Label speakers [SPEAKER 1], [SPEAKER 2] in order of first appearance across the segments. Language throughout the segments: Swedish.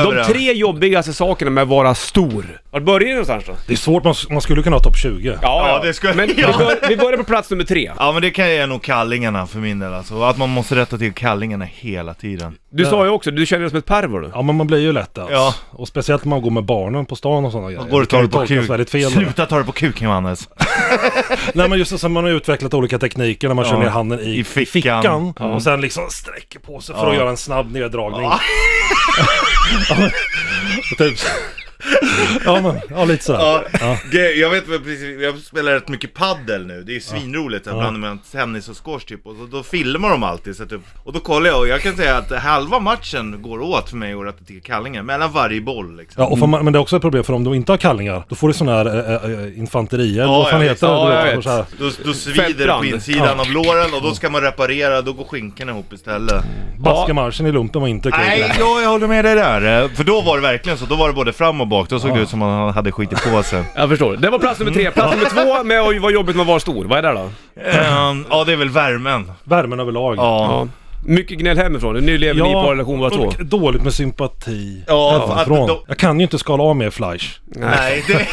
[SPEAKER 1] De
[SPEAKER 2] överallt.
[SPEAKER 1] tre jobbigaste sakerna med att vara stor. Var börjar det någonstans då?
[SPEAKER 3] Det är svårt, man, man skulle kunna ha topp 20.
[SPEAKER 2] Ja, det skulle-
[SPEAKER 1] Men vi,
[SPEAKER 2] ja.
[SPEAKER 1] bör, vi börjar på plats nummer tre.
[SPEAKER 2] Ja men det kan jag nog kallingarna för min del alltså. Att man måste rätta till kallingarna hela tiden.
[SPEAKER 1] Du sa ju också, du känner dig som ett pervo du.
[SPEAKER 3] Ja men man blir ju lätt alltså.
[SPEAKER 2] Ja.
[SPEAKER 3] Och speciellt när man går med barnen på stan och sådana grejer.
[SPEAKER 2] Och går och tar
[SPEAKER 3] kan
[SPEAKER 2] det
[SPEAKER 3] ju
[SPEAKER 2] på
[SPEAKER 3] tolkas
[SPEAKER 2] kuk.
[SPEAKER 3] väldigt fel.
[SPEAKER 2] Sluta ta det på kuken Johannes.
[SPEAKER 3] Nej men just det, som man har utvecklat olika tekniker när man
[SPEAKER 2] Ja.
[SPEAKER 3] kör ner handen i,
[SPEAKER 2] I fickan.
[SPEAKER 3] och sen liksom sträcker på sig för att
[SPEAKER 2] Ja.
[SPEAKER 3] göra en snabb neddragning. Ja. men, typ. så. ja men, ja lite sådär.
[SPEAKER 2] Ja, det- jag vet väl precis, jag spelar rätt mycket paddel nu, det är ju svinroligt ja. bland annat tennis och squash typ, och då, då filmar de alltid så att, typ, och då kollar jag och jag kan säga att halva matchen går åt för mig att rätta till kallingar, mellan varje boll liksom.
[SPEAKER 3] Ja, och för man, men det är också ett problem för om de inte har kallingar, då får du sån här äh, äh, infanteri eller
[SPEAKER 2] Ja,
[SPEAKER 3] vad fan
[SPEAKER 2] ja,
[SPEAKER 3] heter
[SPEAKER 2] visst.
[SPEAKER 1] Ja,
[SPEAKER 3] det? Du
[SPEAKER 1] jag
[SPEAKER 3] vet,
[SPEAKER 1] vet.
[SPEAKER 3] så här.
[SPEAKER 2] Då, då svider det
[SPEAKER 1] Fältbrand.
[SPEAKER 2] på insidan av låren och då ska man reparera, då går skinkorna ihop istället.
[SPEAKER 3] Basketmarschen i lumpen var inte kul.
[SPEAKER 2] Nej, jag, jag håller med dig där. eh, För då var det verkligen så, då var det både fram och bak, då såg det ut som att man hade skitit på sig.
[SPEAKER 1] Jag förstår. Det var plats nummer tre. Mm. Plats nummer två med att vara jobbigt med att vara stor. Vad är det då?
[SPEAKER 2] Ehm, ja, det är väl värmen.
[SPEAKER 3] Värmen överlag.
[SPEAKER 2] Ja.
[SPEAKER 1] Ja. Mycket gnäll hemifrån. Nu lever ni på relation båda två.
[SPEAKER 3] och dåligt med sympati.
[SPEAKER 2] Ja,
[SPEAKER 3] Ja,
[SPEAKER 2] att de-
[SPEAKER 3] Jag kan ju inte skala av mer flash.
[SPEAKER 2] Nej, det...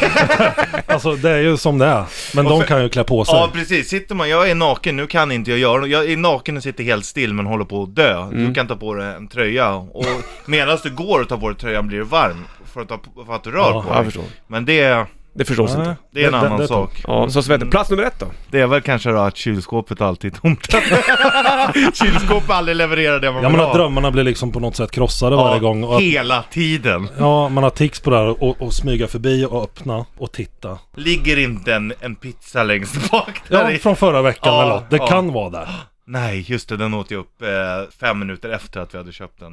[SPEAKER 3] Alltså det är ju som det är. Men
[SPEAKER 2] Och
[SPEAKER 3] de
[SPEAKER 2] för-
[SPEAKER 3] kan ju klä på sig.
[SPEAKER 2] Ja precis, sitter man, jag är naken, nu kan inte jag göra något. Jag är naken och sitter helt still men håller på att dö.
[SPEAKER 3] Mm.
[SPEAKER 2] Du kan ta på dig en tröja och medan du går och tar på dig tröjan blir du varm. För att, ta, på- för att du rör
[SPEAKER 3] Ja,
[SPEAKER 2] på
[SPEAKER 1] Jag
[SPEAKER 2] dig.
[SPEAKER 1] förstår.
[SPEAKER 2] Men det, är-
[SPEAKER 1] Det förstås
[SPEAKER 3] Nej,
[SPEAKER 1] inte.
[SPEAKER 2] det är en
[SPEAKER 3] det-
[SPEAKER 2] annan
[SPEAKER 3] det-
[SPEAKER 2] sak.
[SPEAKER 1] Ja, så Svante, plats nummer ett då?
[SPEAKER 2] Det är väl kanske då att kylskåpet alltid är tomt. Kylskåpet aldrig levererar det man
[SPEAKER 3] Ja
[SPEAKER 2] vill
[SPEAKER 3] men
[SPEAKER 2] ha.
[SPEAKER 3] att drömmarna blir liksom på något sätt krossade varje gång. Och att,
[SPEAKER 2] Hela tiden.
[SPEAKER 3] ja, man har tics på det här och, och smyga förbi och öppna och titta.
[SPEAKER 2] Ligger inte en, en pizza längst bak där
[SPEAKER 3] Ja,
[SPEAKER 2] i?
[SPEAKER 3] från förra veckan
[SPEAKER 2] Ja,
[SPEAKER 3] eller något. Det
[SPEAKER 2] ja.
[SPEAKER 3] kan vara där.
[SPEAKER 2] Nej, just det, den åt jag upp eh, fem minuter efter att vi hade köpt den.